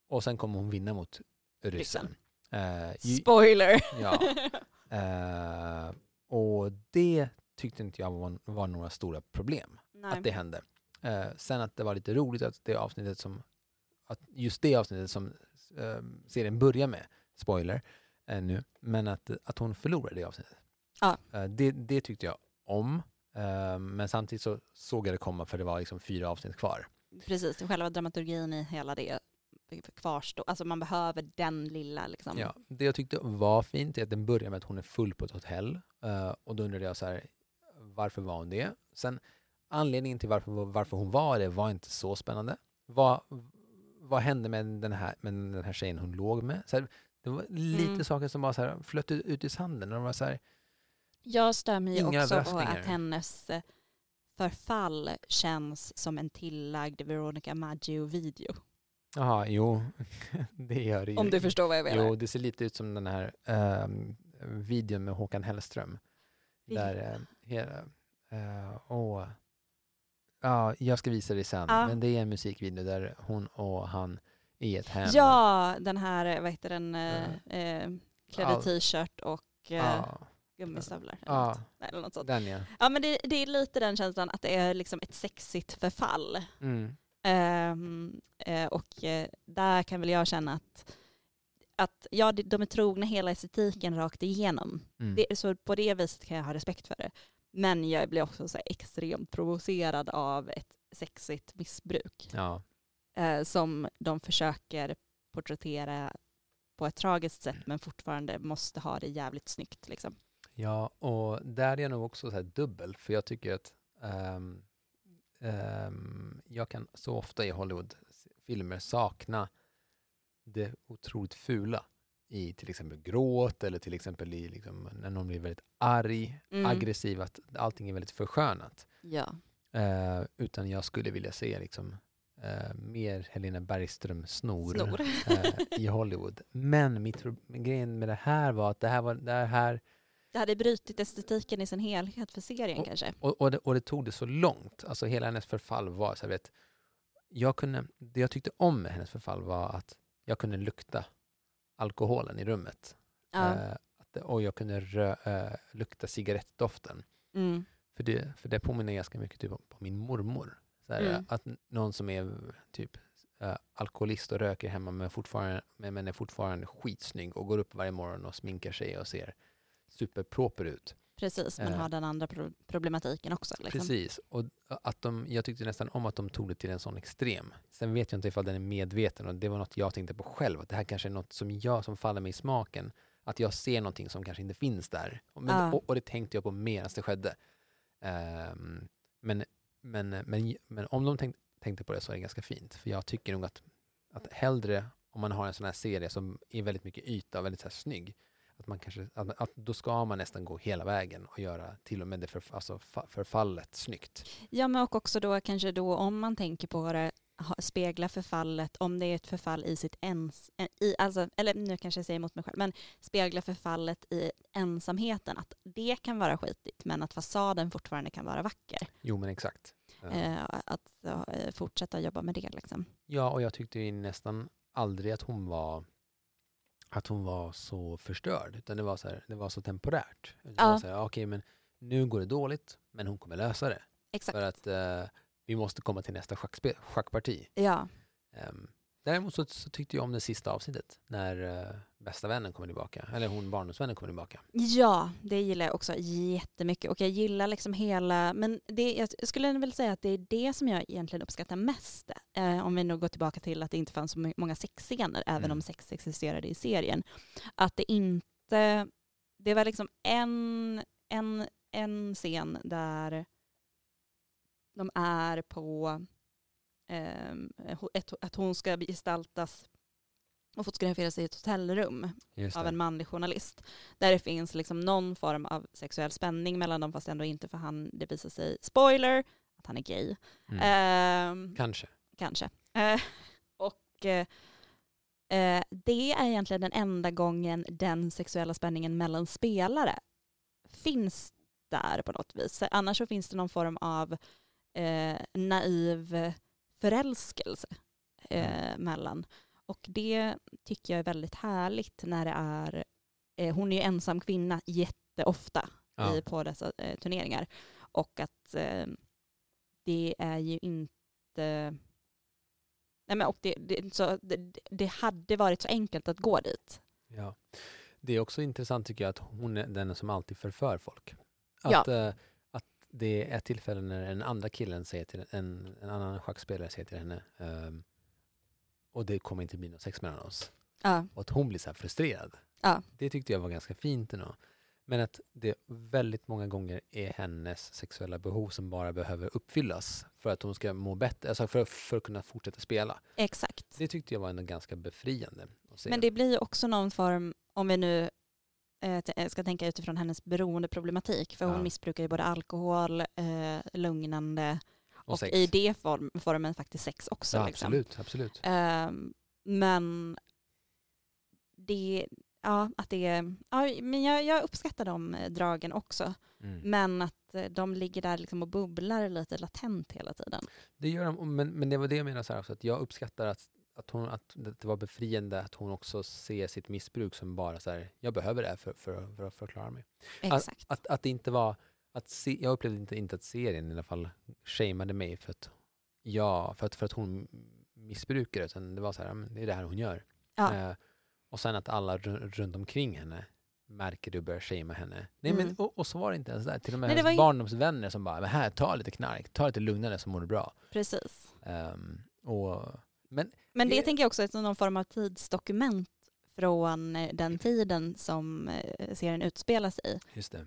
Och sen kommer hon vinna mot ryssen.
Ryssen.
Eh, ju-
Spoiler! [laughs]
ja. Eh, och det tyckte inte jag var, var några stora problem.
Nej.
Att det hände. Eh, sen att det var lite roligt att det avsnittet som, att just det avsnittet som eh, serien börjar med, spoiler eh, nu, men att, att hon förlorade det avsnittet.
Ja.
Eh, det, det tyckte jag om. Eh, men samtidigt så såg jag det komma för det var liksom fyra avsnitt kvar.
Precis, själva dramaturgin i hela det kvarstår. Alltså man behöver den lilla liksom.
Ja, det jag tyckte var fint är att den börjar med att hon är full på ett hotell. Eh, och då undrade jag så här, varför var hon det? Sen anledningen till varför, varför hon var det var inte så spännande. Vad, vad hände med den, här, med den här tjejen hon låg med? Så här, det var lite
Mm.
saker som bara så här, flöt ut, ut i sanden. Och de var så här,
Jag stör mig
Inga
också på
överraskningar.
att hennes eh, förfall känns som en tillagd Veronica Maggio-video.
jaha, jo, [laughs] det gör det ju.
Om du förstår vad jag menar.
Jo, det ser lite ut som den här ehm, videon med Håkan Hellström. Där, eh, hela, eh, åh. ja, jag ska visa dig sen.
Ja.
Men det är en musikvideo där hon och han är i ett hem.
Ja, den här, vad heter den, eh, eh, klädd
Ja.
i t-shirt och eh,
ja,
gummistövlar. Eller,
Ja.
något. Nej, eller något sånt.
den ja.
Ja men det, det är lite den känslan att det är liksom ett sexigt förfall.
Mm,
Ehm, eh, och eh, där kan väl jag känna att att ja, de- de är trogna hela estetiken rakt igenom.
Mm.
Det, så på det viset kan jag ha respekt för det. Men jag blir också så här extremt provocerad av ett sexigt missbruk
Ja.
eh, som de försöker porträttera på ett tragiskt sätt men fortfarande måste ha det jävligt snyggt. Liksom.
ja, och där är jag nog också så här dubbel, för jag tycker att ehm, ehm, jag kan så ofta i Hollywoodfilmer sakna det otroligt fula i till exempel gråt eller till exempel i liksom, när någon blir väldigt arg,
Mm.
aggressiv, att allting är väldigt förskönat.
Ja.
Eh, utan jag skulle vilja se liksom, eh, mer Helena Bergström-snor
Snor.
[laughs] eh, i Hollywood. Men mitt pro- men grejen med det här var att det här var det här,
Det hade brutit estetiken i sin helhet för serien
Och- eh,
kanske.
och, och, det, och det tog det så långt. Alltså hela hennes förfall var, så jag vet, jag kunde, det jag tyckte om med hennes förfall var att jag kunde lukta alkoholen i rummet.
Ja.
Eh, att det- och jag kunde rö, eh, lukta cigarettdoften.
Mm.
För det, för det påminner ganska mycket typ om på min mormor. Så här,
Mm.
Att n- någon som är typ eh, alkoholist och röker hemma men, fortfarande, men, men är fortfarande skitsnygg och går upp varje morgon och sminkar sig och ser superproper ut.
Precis, men
Eh.
har den andra pro- problematiken också. Liksom.
Precis, och att de, jag tyckte nästan om att de tog det till en sån extrem. Sen vet jag inte ifall den är medveten och det var något jag tänkte på själv, att det här kanske är något som jag som faller mig i smaken, att jag ser någonting som kanske inte finns där. Och- Men,
Ja.
och, och det tänkte jag på medan det skedde. Ehm, men, men, men, men om de tänk, tänkte på det så är det ganska fint, för jag tycker nog att, att hellre om man har en sån här serie som är väldigt mycket yta och väldigt så här snygg, att man kanske, att, att då ska man nästan gå hela vägen och göra till och med det för, alltså, fa- förfallet snyggt.
Ja, men och också då kanske då om man tänker på det, ha- spegla förfallet, om det är ett förfall i sitt ens, eh, i, alltså, eller nu kanske jag säger emot mig själv, men spegla förfallet i ensamheten, att det kan vara skitigt, men att fasaden fortfarande kan vara vacker.
Jo men exakt. Ja.
Eh, att eh, fortsätta jobba med det liksom.
Ja, och jag tyckte ju nästan aldrig att hon var att hon var så förstörd, utan det var så, här, det var så temporärt. Det
Ja.
var så här, Okej, men nu går det dåligt, men hon kommer lösa det.
Exakt.
För att eh, vi måste komma till nästa schackspe- schackparti.
Ja,
Ehm, däremot så, så tyckte jag om det sista avsnittet, när eh, bästa vännen kommer tillbaka, eller hon barndomsvännen kommer tillbaka.
Ja, det gillar jag också jättemycket. Och jag gillar liksom hela, men det, jag skulle väl säga att det är det som jag egentligen uppskattar mest. Eh, om vi nu går tillbaka till att det inte fanns så my- många sexscener, även
Mm.
om sex existerade i serien. Att det inte, det var liksom en, en, en scen där de är på, ehm, ho- ett, att hon ska gestaltas och fotograferas i ett hotellrum
Just
av en manlig journalist. Där det finns liksom någon form av sexuell spänning mellan dem fast ändå inte för han, det visar sig, spoiler, att han är gay.
Mm.
Ehm,
Kanske.
kanske. Eh, [laughs] och eh, eh, det är egentligen den enda gången den sexuella spänningen mellan spelare finns där på något vis. Annars så finns det någon form av eh, naiv förälskelse eh, mellan. Och det tycker jag är väldigt härligt när det är, eh, hon är ju ensam kvinna jätteofta
Ja.
i, på dessa eh, turneringar. Och att eh, det är ju inte... Nej men och det, det, så, det, det hade varit så enkelt att gå dit.
Ja. Det är också intressant tycker jag att hon är den som alltid förför folk.
Ja.
Att, eh, att det är tillfällen när den andra killen säger till en, en annan schackspelare säger till henne ehm, och det kommer inte bli något sex mellan oss.
Ja,
Och att hon blir så här frustrerad.
ja,
Det tyckte jag var ganska fint ändå. Men att det väldigt många gånger är hennes sexuella behov som bara behöver uppfyllas för att hon ska må bättre, alltså för, för att kunna fortsätta spela.
exakt.
Det tyckte jag var ändå ganska befriande. Att se.
Men det blir ju också någon form, om vi nu eh, t- eh, ska tänka utifrån hennes beroendeproblematik, för
Ja.
hon missbrukar ju både alkohol, eh, lugnande och,
sex.
i det form, formen faktiskt sex också.
ja,
liksom.
absolut, absolut.
Ehm, men det, ja, att det, ja, men jag, jag uppskattar de eh, dragen också.
Mm.
Men att eh, de ligger där liksom och bubblar lite latent hela tiden.
Det gör de, men, men det var det jag menade så här också, att jag uppskattar att, att, hon, att det var befriande att hon också ser sitt missbruk som bara så här, jag behöver det här för, för, för, för att klara mig.
Exakt.
Att, att det inte var, att se, jag upplevde inte, inte att serien i alla fall shameade mig för att, ja, för att, för att hon missbrukar utan det var så här, "Ja, men det är det här hon gör.
Ja.
Eh, Och sen att alla ru- runt omkring henne märker det och börjar shamea henne. Nej, men,
Mm.
och, och så var det inte ens där. Till och med
Nej, det
hennes
var ju-
barndomsvänner som bara, men här, ta lite knark, ta lite lugnare så mår du bra.
Precis.
Ehm, och, men
Men det
Det-
tänker jag också är som någon form av tidsdokument från eh, den tiden som eh, serien utspelas i.
Just det.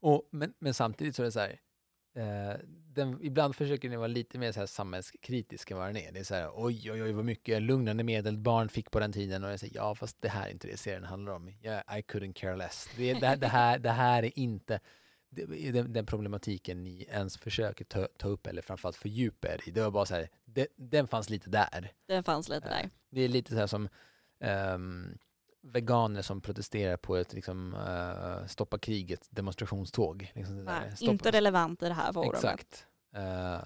Och, men, men samtidigt så är det så här, eh, den, ibland försöker den vara lite mer så här samhällskritisk än vad den är. Det är så här, oj, oj, oj, vad mycket lugnande medel barn fick på den tiden. Och jag säger, ja, fast det här är inte det serien handlar om. Yeah, I couldn't care less. Det, det, här- det, här, det här är inte det- den, den problematiken ni ens försöker ta, ta upp eller framförallt fördjupa er i. Det var bara så här, det, den fanns lite där.
Den fanns lite
Ja.
där.
Det är lite så här som ehm, veganer som protesterar på ett liksom, eh, stoppa kriget demonstrationståg. Liksom det där.
Nej,
Stoppa-
inte relevant i det här forumet.
Exakt. Eh,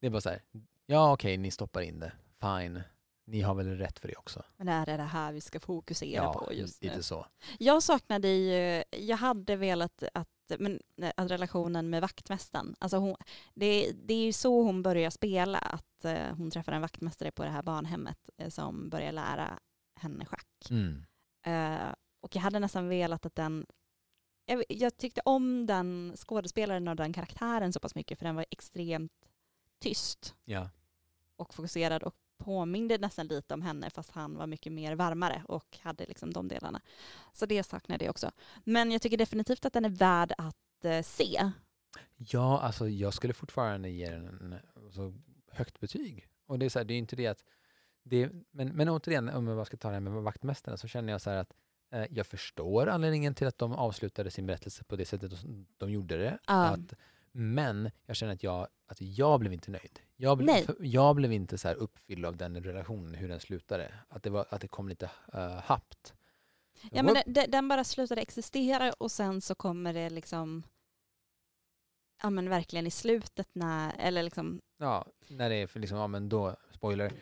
det är bara så här, ja okej, ni stoppar in det, fine. Ni har väl rätt för det också?
Men det här är det här vi ska fokusera på just nu.
lite så.
Jag saknade ju, jag hade velat att, men, eh, att relationen med vaktmästaren, alltså hon, det, det är ju så hon börjar spela, att eh, hon träffar en vaktmästare på det här barnhemmet eh, som börjar lära henne schack.
Mm.
Eh, och jag hade nästan velat att den, jag, vet- jag tyckte om den skådespelaren och den karaktären så pass mycket för den var extremt tyst
Ja.
och fokuserad och påminde nästan lite om henne fast han var mycket mer varmare och hade liksom de delarna. Så det saknade jag också. Men jag tycker definitivt att den är värd att eh, se.
ja, alltså jag skulle fortfarande ge den en så högt betyg. Och det är så här, det är ju inte det att, det, men, men återigen, om man ska ta det här med vaktmästarna, så känner jag så här att eh, jag förstår anledningen till att de avslutade sin berättelse på det sättet de- de gjorde det. Att, men jag känner att jag, att jag blev inte nöjd. Jag blev,
Nej.
för- jag blev inte så här uppfylld av den relationen, hur den slutade. Att det, var, att det kom lite uh, happt.
ja, men den, den bara slutade existera och sen så kommer det liksom Ja men verkligen i slutet när, eller liksom,
Ja, när det är för liksom, ja men då, spoiler,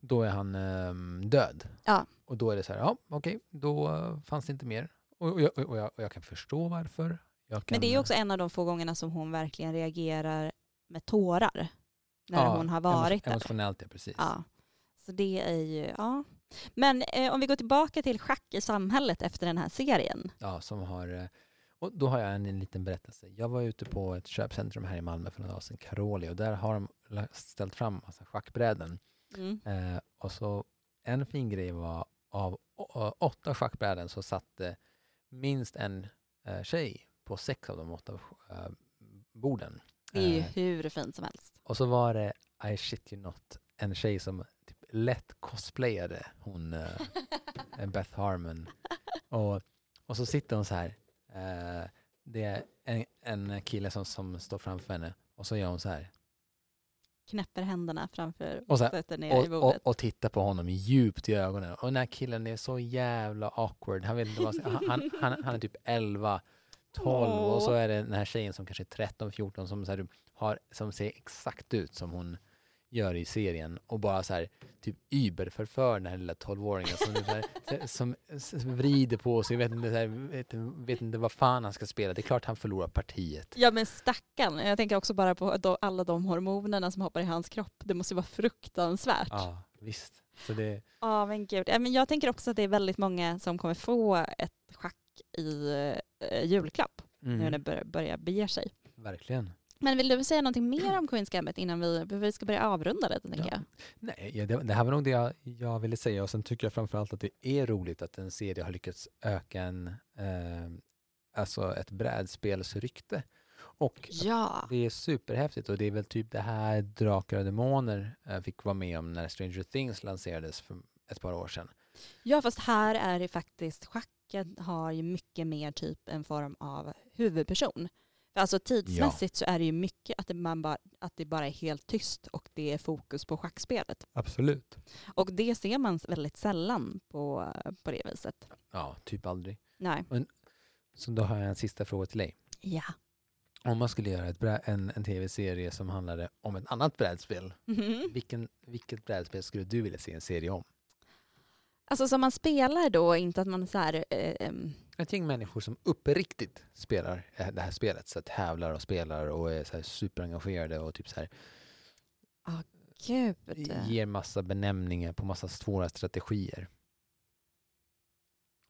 då är han ehm, död.
Ja.
Och då är det så här, ja okej, då eh, fanns det inte mer. Och, och, jag, och, jag, och jag kan förstå varför. Jag kan,
men det är ju också en av de få gångerna som hon verkligen reagerar med tårar när
ja,
hon har
emo-
varit där.
Emotionellt, ja precis.
Ja, så det är ju, ja. Men eh, om vi går tillbaka till schack i samhället efter den här serien.
Ja, som har... eh, Och då har jag en, en liten berättelse. Jag var ute på ett köpcentrum här i Malmö för några dagar sedan, Caroli, och där har de la- ställt fram massa schackbräden.
Mm.
Eh, och så en fin grej var av å- åtta schackbräden så satt eh, minst en eh, tjej på sex av de åtta eh, borden.
Det är ju
Eh,
hur fint som helst.
och så var det, I shit you not, en tjej som typ lätt cosplayade hon eh, eh, Beth Harmon. Och, och så sitter hon så här. Eh, det är en, en kille som, som står framför henne och så gör hon så här.
Knäpper händerna framför och
Och så här,
sätter ner i
och, och, [laughs]
bordet.
och tittar på honom djupt i ögonen. Och den här killen är så jävla awkward. Han, vet inte vad han, han, han, han är typ 11, 12 och så
Åh.
är det den här tjejen som kanske är 13, 14 som, så här, har, som ser exakt ut som hon gör i serien och bara så här typ überförför den här lilla 12-åringen som, så
[laughs]
här, så- som, som vrider på sig, vet inte, så här, vet, vet inte vad fan han ska spela. Det är klart han förlorar partiet.
Ja men stackarn, jag tänker också bara på då- alla de hormonerna som hoppar i hans kropp. Det måste ju vara fruktansvärt. Ja
Ja, visst. Så det,
men gud. Ja, men jag tänker också att det är väldigt många som kommer få ett schack i eh, julklapp
Mm.
nu när det bör- börjar bege sig.
verkligen.
Men vill du säga någonting mer om Queens Gambit innan vi, för vi ska börja avrunda lite tänker
Ja.
jag.
Nej, ja, det, det här var nog det jag, jag ville säga och sen tycker jag framförallt att det är roligt att en serie har lyckats öka en, eh, alltså ett brädspelsrykte. Och
Ja.
det är superhäftigt och det är väl typ det här Drakar och Demoner eh, fick vara med om när Stranger Things lanserades för ett par år sedan.
Ja, fast här är det faktiskt schacket har ju mycket mer typ en form av huvudperson. För alltså tidsmässigt så är det ju mycket att det, man bara, att det bara är helt tyst och det är fokus på schackspelet.
Absolut.
Och det ser man väldigt sällan på, på det viset.
Ja, typ aldrig.
Nej. [laughs]
Så då har jag en sista fråga till dig.
Ja.
Om man skulle göra ett brä- en, en tv-serie som handlade om ett annat brädspel,
Mhm.
vilken, vilket brädspel skulle du vilja se en serie om?
Alltså som man spelar då, inte att man så här... Eh, ehm,
ett gäng människor som uppriktigt spelar eh, det här spelet, så att tävlar och spelar och är så här superengagerade och typ så här,
gud.
ger massa benämningar på massa svåra strategier.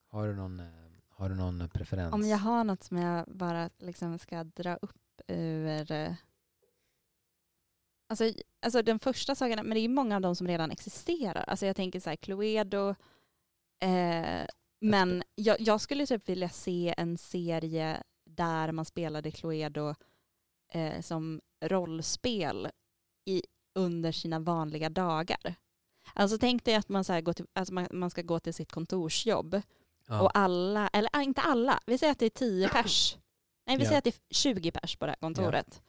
Har du någon, eh, har du någon preferens?
Om jag har något som jag bara liksom ska dra upp ur... eh, Alltså, alltså den första saken, men det är ju många av dem som redan existerar. Alltså jag tänker så här, Cluedo. Eh, men jag, jag skulle typ vilja se en serie där man spelade Cluedo eh, som rollspel i, under sina vanliga dagar. Alltså tänk dig att man, så här går till, alltså man, man ska gå till sitt kontorsjobb
ja.
och alla, eller ah, inte alla, vi säger att det är 10 pers. Nej vi
Ja.
säger att det är 20 pers på det här kontoret.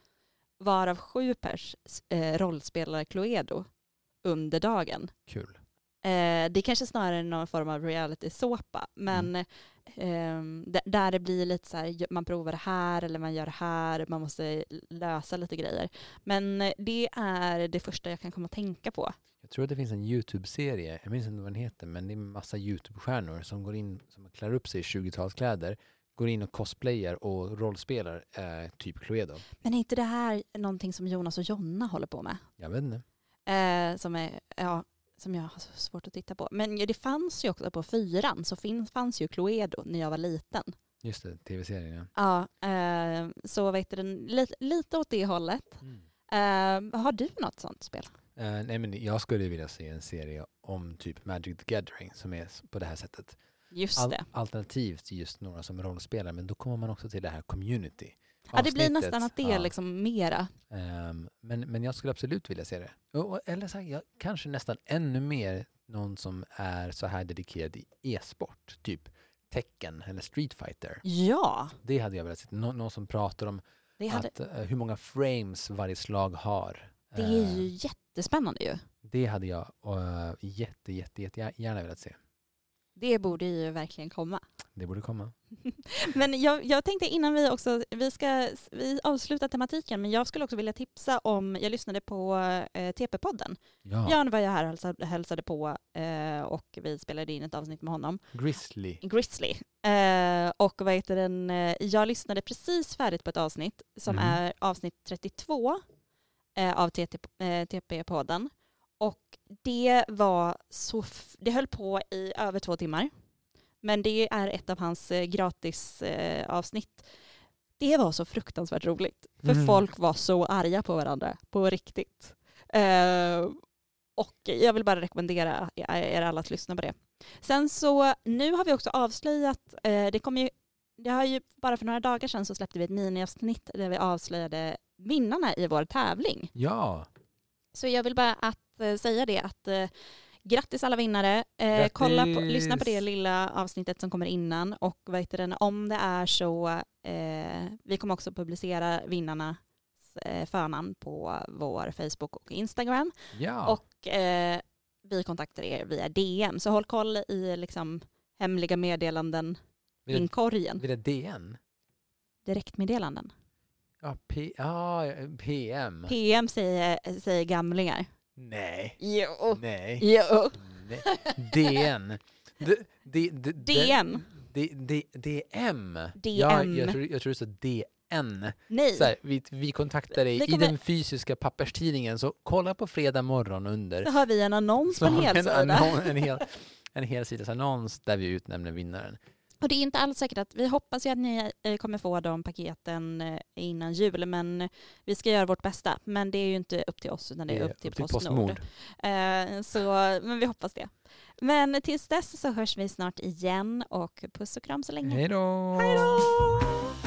Varav sju pers eh, rollspelar Cluedo under dagen.
Kul.
Eh, det är kanske snarare är någon form av reality-såpa, men
Mm.
ehm, d- där det blir lite så här, ju- man provar det här eller man gör det här, man måste lösa lite grejer. Men eh, det är det första jag kan komma att tänka på.
Jag tror att det finns en YouTube-serie, jag minns inte vad den heter, men det är en massa YouTube-stjärnor som går in, som klär upp sig i 20-talskläder, går in och cosplayar och rollspelar eh, typ Cluedo.
Men är inte det här någonting som Jonas och Jonna håller på med?
Jag vet inte.
Eh, som, är, ja, som jag har så svårt att titta på. Men ju- det fanns ju också på fyran, så fin, fanns ju Cluedo när jag var liten.
Just det, tv-serien ja.
Ja, eh, så vet du, lite, lite åt det hållet. Eh, har du något sånt spel?
Eh, nej men jag skulle vilja se en serie om typ Magic the Gathering som är s- på det här sättet.
Just
Al-
det.
alternativt just några som rollspelar, men då kommer man också till det här community.
Ja, det blir
avsnittet.
nästan att det är
Ja.
liksom mera.
Ehm, men, men jag skulle absolut vilja se det. Och, och- eller så här, jag, kanske nästan ännu mer någon som är så här dedikerad i e-sport, typ tecken eller Street Fighter.
Ja,
Det hade jag velat se. Nå, någon som pratar om
det, hade,
att, eh, hur många frames varje slag har.
det är
Ehm,
ju jättespännande ju.
det hade jag uh, jätte, jätte, jätte gärna velat se.
Det borde ju verkligen komma.
Det borde komma.
Men jag, jag tänkte innan vi också, vi ska vi avsluta tematiken, men jag skulle också vilja tipsa om, jag lyssnade på eh, TP-podden.
Ja,
Björn var jag här och hälsa- hälsade på eh, och vi spelade in ett avsnitt med honom,
Grizzly.
Grizzly. Eh, och vad heter den, eh, jag lyssnade precis färdigt på ett avsnitt som
Mm.
är avsnitt 32 eh, av TT- eh, TP-podden. Och det var så, f- det höll på i över två timmar. Men det är ett av hans eh, gratis eh, avsnitt. Det var så fruktansvärt roligt. För
Mm.
folk var så arga på varandra, på riktigt. Eh, och jag vill bara rekommendera er alla att lyssna på det. Sen så, nu har vi också avslöjat, eh, det kommer ju, det har ju bara för några dagar sedan så släppte vi ett miniavsnitt där vi avslöjade vinnarna i vår tävling.
Ja,
Så jag vill bara att eh, säga det att eh, grattis alla vinnare. Eh, kolla på, lyssna på det
Grattis!
lilla avsnittet som kommer innan och vad heter den, om det är så, eh, vi kommer också publicera vinnarnas eh, förnamn på vår Facebook och Instagram
ja.
och eh, vi kontaktar er via DM. Så håll koll i liksom, hemliga meddelanden,
Vid ett-
inkorgen,
vid ett DN?
direktmeddelanden.
Ja, P- ja, PM.
PM säger, säger gamlingar.
Nej.
Jo.
Nej. [laughs]
Jo.
Nej. DN. D- D- D-
DM.
D- D- DM.
DM.
Ja, jag, tror, jag tror det står DN.
Nej.
Så här, vi, vi kontaktar dig
Det
i
kommer-
den fysiska papperstidningen, så kolla på fredag morgon under.
Så har vi en annons på
Så
en
har vi
hel
en,
sida.
annon, en hel en helsidesannons där vi utnämner vinnaren.
Och det är inte alls säkert att, vi hoppas ju att ni eh, kommer få de paketen eh, innan jul, men eh, vi ska göra vårt bästa. Men det är ju inte upp till oss, utan det är upp till, Postnord. Eh, så, men vi hoppas det. Men tills dess så hörs vi snart igen och puss och kram så länge.
Hej då!
Hej då!